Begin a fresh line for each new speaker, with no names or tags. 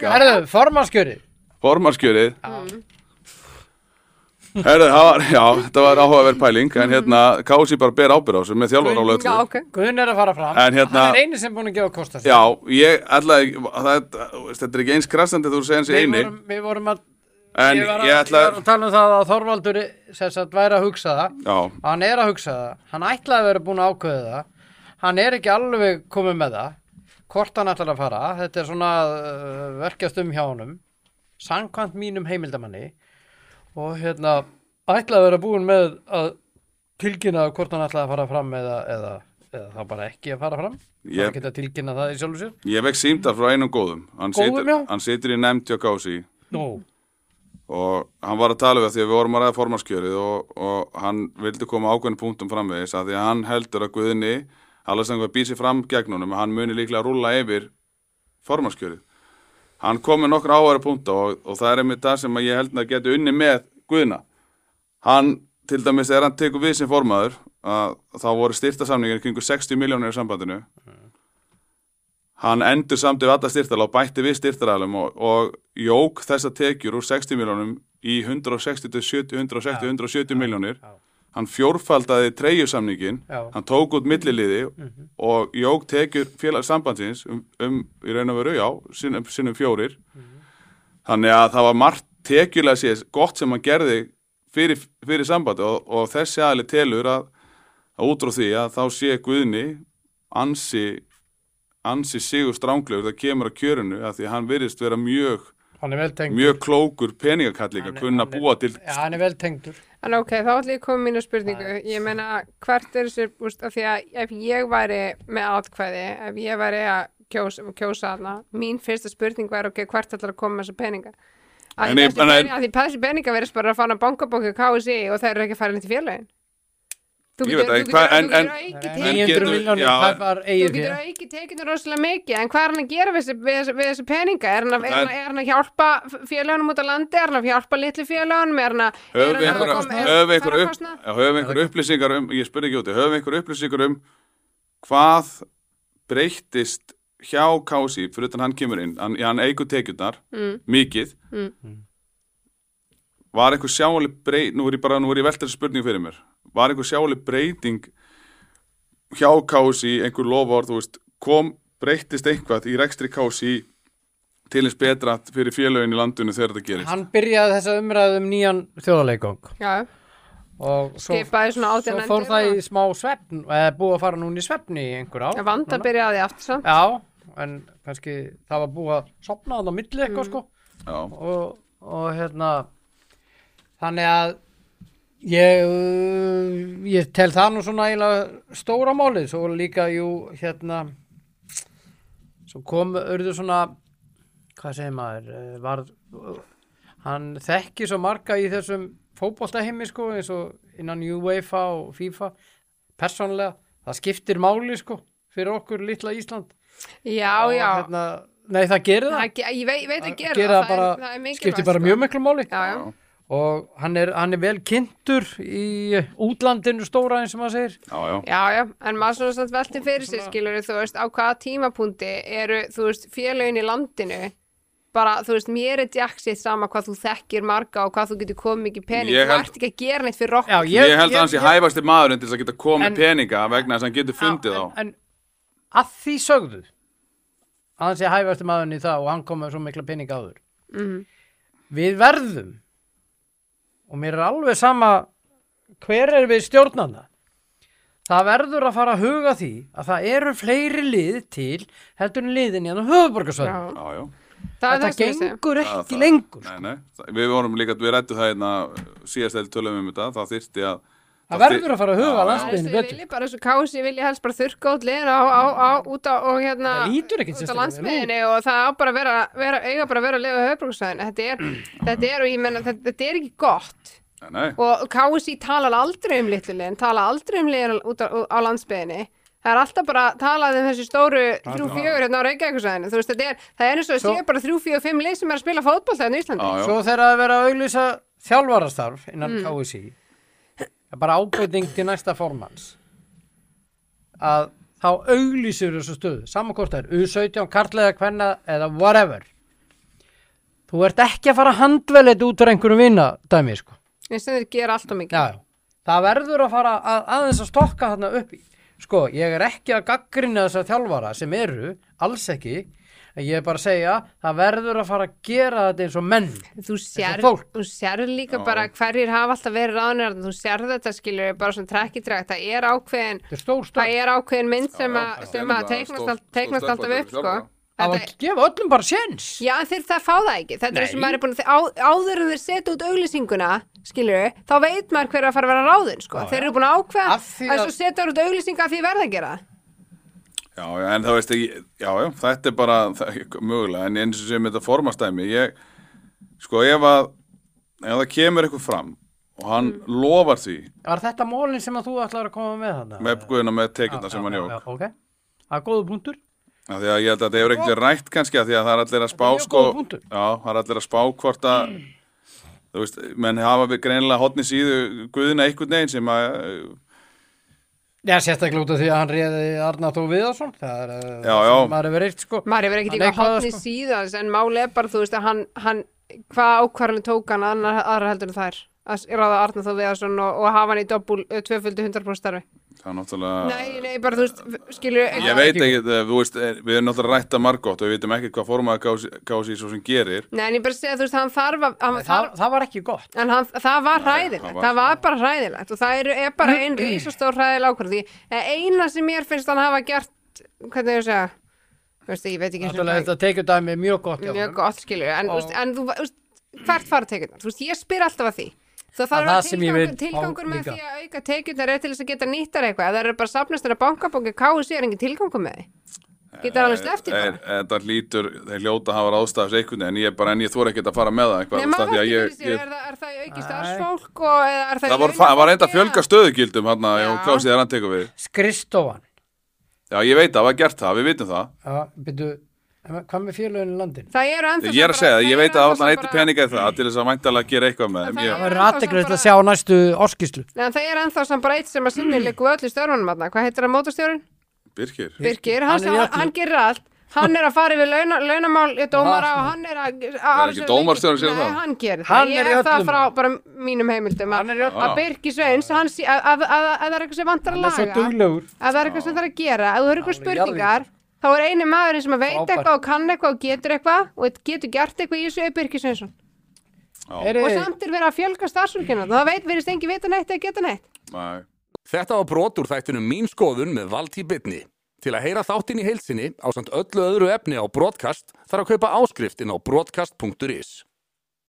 Já.
Herðu, formanskjöri
formarskjörið
Mm.
Herðu, það var, já, þetta var áhugaverð pæling en hérna, Kási bara ber ábyrð á þessu með þjálfur á lögtu
Já, ok.
Guðn er að fara fram
En hérna-
Hann er eini sem búin að gefa kost á sér.
Já, ég ætlaði, ekki- það, þú veist, þetta er ekki eins krassandi þú segir hans í
Við
eini
vorum, við vorum að,
En
ég, var að,
ég
var
ætlaði,
að tala um það að Þorvaldur sem sagt væri að hugsa það
já,
að hann er að hugsa það, hann ætlaði að vera búin að ákveða það, hann er ekki alveg komið með það, hvort hann ætlar að fara, þetta er svona uh, verkjast um hjá honum, sangkvæmt mínum heimildamanni og hérna ætlaði að vera búin með að tilkynna hvort hann ætlaði að fara fram eða, eða, eða þá bara ekki að fara fram,
Ég-
hann geta að tilkynna það í sjálfu sér.
ég vekk símta frá einum góðum Hann,
Góðum,
situr,
já.
hann situr í nefnd hjá Kási
Nú,
og hann var að tala við það því að við vorum að ræða formarskjörið og, og hann vildi koma ákveðin punktum framvegis að því að hann heldur að Guðni Alessandro býr sér fram gegn honum og hann muni líklega að rúlla yfir formarskjörið hann kom með nokkra áhæra punkta og, og það er einmitt það sem að ég held að geti unni með Guðna hann, til dæmis, er hann tekur við sem formaður að þá voru styrtasamningin kringu 60 miljónir í sambandinu hann endur samt við alla styrtala og bætti við styrtaræðlum og, og jók þessa tekjur úr 60 miljónum í 160, til 70, 160, 170 miljónir hann fjórfaldaði treyjusamningin
Já.
hann tók út milliliði og jók tekjur félags sambandsins um, um í raun og veru, já, sinnum, sinnum fjórir þannig að það var margt tekjulega séð gott sem hann gerði fyrir, fyrir sambandi og, og þessi aðli telur að, að útrá því að þá sé Guðni ansi ansi sigur stránglegur það kemur að kjörinu að því að hann virðist vera mjög,
hann er vel tengdur.
mjög klókur peningakall líka,
Hann er-
kunna
hann er-
búa til
Já, hann er vel tengdur.
En ok, þá ætlum ég að koma með mínu spurningu. Ég meina, hvert er þessi, úst, af því að ef ég væri með atkvæði, ef ég væri að kjósa, kjósa hana, mín fyrsta spurning væri, ok, hvert ætlar að koma með þessa peninga? Að
En
því
ég- en-
þessi- að því þessi peninga verðist bara að fara á bankabóki og KSI og það eru ekki að fara neitt í félagin. Þú
Ég
getur,
veit það,
þú
hvað-
getur,
en-
þú getur
en-
ekki
en-
tekið-
900
getur-
miljónir,
já,
það var
Þú
eigið
getur
fyrir.
ekki tekinu rosalega mikið, en hvað er hann að gera við þessi, við þessi, við þessi peninga? Er hann, að, er,
Það-
hann, er hann að hjálpa félagunum út á landi? Er hann að hjálpa litlu félagunum? Er hann að...
höfum við
er hann að
einhverja
koma- er-
höfum við einhverja upp,
ferðakostnað?
já, höfum við einhverja upplýsingar um ég spurði ekki úti, höfum við einhverja upplýsingar um hvað breyttist hjá Kási fyrir utan hann kemur inn, hann, hann eigur tekjurnar mikið var einhver sjáli breyting nú er ég bara, nú er ég veltað spurning fyrir mér var einhver sjáli breyting hjá Kási, einhver lofar þú veist, kom, breyttist einhvað í rekstri Kási til eins betra fyrir félögin í landinu þegar þetta gerist
Hann byrjaði þessa umræðu um nýjan þjóðarleikong.
Já,
og svo,
Skipaði svona átján
svo
endur
fór það
og-
í smá svefn eða búið að fara núna í svefni í einhver á
Já, vanda að byrja að því aftur samt.
já, en kannski það var búið að sopna þannig á milli eitthvað
Já.
Mm.
sko og, og hérna þannig að ég, uh, ég tel það nú svona eiginlega stóra málið svo líka jú hérna svo kom urðu svona hvað segir maður eh, var, hann þekki svo marga í þessum fótboltaheimi sko eins og innan UEFA og FIFA persónlega, það skiptir máli sko fyrir okkur litla Ísland
Já,
Og
já.
hérna, nei það gerir það,
Það, ge- ég veit, ég veit að gera,
gera
það,
bara,
er, það er mikilvægt. sko.
skiptir bara mjög miklu máli
Já, já.
og hann er, hann er vel kynntur í útlandinu stóra eins og maður segir
Já, já.
Já, já, en maður svona samt velti fyrir sér, skilur þú veist, á hvaða tímapunkti eru, þú veist, félögin í landinu, bara, þú veist, mér er djaksið sama hvað þú þekkir marga og hvað þú getur komið mikið pening,
Ég
þú
held-
ert ekki að gera neitt fyrir okkur.
Já,
Ég, held að hann sé hæfasti maðurinn til þess að geta komið
En-
peninga vegna þess að hann getur fundið
en,
þá.
en að því sögðu að hann sé hæfasti maðurinn í það og hann kom með svo mikla pening áður
Mhm.
við verðum og mér er alveg sama hver er við stjórnanda það verður að fara að huga því að það eru fleiri lið til heldur en liðin hérna í hann höfuborgarsvæðin
Já,
Já, já.
það
þetta
er það sem ég segi.
gengur
Það-
ekki
það-
lengur sko.
Nei, nei. Það- Við vorum líka, við rættum það hérna síðast eða tölum við um þetta. Það þyrfti að...
það
þyrfti-
verður að fara að
Já,
huga
já.
landsbyðinu
Ég
betur
vilji bara svo kási, ég vilji helst bara þurrka út liðin á, á, á, út á, og hérna,
Það lítur ekkit
út á
sérstaklega vel
landsmiðinni og það á bara að vera, vera, eiga bara að vera að lifa höfbruksvæðin. Þetta er, þetta er, og ég menna, þetta, þetta er ekki gott.
Nei, nei.
Og kási talar aldrei um litlu liðin, talar aldrei um liðin út á, á landsmiðinni. Það er alltaf bara talað um þessi stóru þrjú fjögur hérna á Reykjavíkursæðinu. Þú veist, þetta er, það er eins og
Svo-
það sé bara þrjú fjögur fimm lið sem er að spila fótboll þegar í Íslandi.
Já, já.
Svo þegar að vera að auglýsa þjálfarastarf innan
Mm.
KSI er bara ábyrting til næsta formans að þá auglýsir þessu stöðu saman hvort það er U17, kartlega, kvenna eða whatever þú ert ekki að fara að handvelja þetta út úr einhverjum vinna dæmi sko.
eins og þeir gera allt og mikið
já, já. það verður að fara að, aðeins að stokka þarna upp í sko, ég er ekki að gaggrina þessar þjálfara sem eru, alls ekki en ég er bara að segja, það verður að fara að gera þetta eins og menn
þú sér,
fólk.
þú sér líka bara hverjir hafa alltaf verið ráðnir þarna, þú sér þetta skilur bara svona trekk í trekk, það er ákveðin
þetta er stór stór
það er ákveðin mynd sem,
Já,
að-
já,
sem að
það er
teiknast,
stór-
all, teiknast
stór
alltaf upp
stelpa
sko.
fyrir
það var
Þetta-
að gefa öllum bara séns
já en þeir það fá það ekki þetta er
Nei.
sem maður er búin að þe- á, áður en þeir setja út auglýsinguna skilur, þá veit maður hver er að fara að vera ráðin sko.
Já,
þeir eru búin að ákveða
Af því
að
að-
svo setja út auglýsinga að því verða að gera það.
Já, já, en það veist ekki, já, já, þetta er bara það, mögulega, en eins og sem þetta formastæmi, ég, sko, ef að, ef það kemur eitthvað fram og hann
Mm.
lofar því
var þetta mólin sem að þú ætlar að koma með þarna?
með guðina með tekjurna sem hann jók,
Já, ok, það er góðu punktur
af því að ég held að þetta hefur ekkert verið rætt kannski, af því að það er allir að spá,
Þetta er mjög
sko,
góður punktur.
já, það er allir að spá hvort að, þú veist, menn hafa við greinilega hotni síðu guðina einhvern veginn sem að,
Já, sérstaklega út af því að hann réði Arnar Þó Viðarsson það er eh,
Já,
það
já.
sem maður hefur reykt sko
maður hefur ekkert
Hann
eitthvað
eitthvað,
hotni
sko.
síðans en máli er bara þú veist að hann, hann hvað ákvarðanir tók hann annar, aðra heldur en þær að ráða Arna Þóð Viðarsson og, og hafa hann í doppul tvöföldu 100% starfi
það er náttúrulega...
nei, nei, bara þú veist, skilur
Ég veit ekki, eh, þú veist, eh, við erum náttúrulega rætt að margótt og við veitum ekki hvað formaða kási svo sem gerir.
nei, en ég bara segja, þú veist, hann þarf að hann
það,
þarf,
það var ekki gott
En hann, það var hræðilegt,
það
það
var-
var, bara hræðilegt og það er, er bara einn rísastór hræðileg ákvörð því eh, eina sem mér finnst hann hafa gert hvernig ég segja, þú veist, ég veit ekki einu sinni
Náttúrulega
hvað-
þetta tekið dæmi er mjög gott hjá
mjög
honum.
gott skilur en,
Og-
og... úst, en þú, úst, hvert fara tekjurnar þú veist, ég spyr alltaf að því það
Að
þarf
það
að
sem ég
tilgangur,
vil fá
tilgangur með
líka.
því að auka tekjurnar er til þess að geta nýttar eitthvað ef það eru bara safnastur að bankabóki KSC er engin tilgangur með því geta
Eh,
alveg sleftir
Þeir-
það
Þetta hlýtur, þeir hljóta að hafa ráðstafs einhvern veginn, en ég bara, en ég þóra ekki að fara með það eitthvað,
Nei,
þú veist, af því
maður veltir
að ég, ég,
fyrir sér, er það- er það aukið
Æ.
starfsfólk og eða er það
það voru,
launafólk
það var reynda að
eða-
fjölga stöðugildum hann að
Já.
klásið þegar hann tekur við.
Skristofan
Já, ég veit að það var gert það, við vitum það.
Já, byrju, hvað með félögin í landin?
það eru ennþá
Ég er að segja það, ég veit að
það
það eitt peninga í það til þess að væntalega gera eitthvað með
En
þeim.
Það
það
Ég-
er-
verður
þá
aðteklust
sem
að sjá næstu orskíslu
en það er ennþá sem bara eitt sem að
Mm.
sinni líku öllu störfunum þarna. hvað heitir það mótastjórun?
Birkir,
Birgir, hann,
Hann er í
hann,
öllu.
hann gerir allt hann er að fara yfir launa, launamál eh, dómara og hann er að, að
ekki dómarstjórinn sem
Nei,
það?
hann gerir
Hann er
það, ég
í
er það
öllum.
frá bara mínum heimildum
Hann er í
að,
öllum.
að Birgir Sveins hann sé- að, að, að, að það er eitthvað sem vantar að
Það er svo
laga
duglegur
að það er eitthvað sem það er að gera að það eru eitthvað
Hann er jarðvísindi.
spurningar þá er eini maðurinn sem að veit
Frábær.
eitthvað og kann eitthvað og getur eitthvað og getur gert eitthvað í þessu er Birgir Sveinsson
já,
Heyri,
og samt er verið að fjölga starfsfólkinu það veit verið stengi vita neitt eða geta neitt
næ,
Þetta var brot úr þættunum Mín skoðun með Valtí Bitni. Til að heyra þáttin í heilsinni á samt öllu öðru efni á brotkast þarf að kaupa áskrift inn á brotkast.is.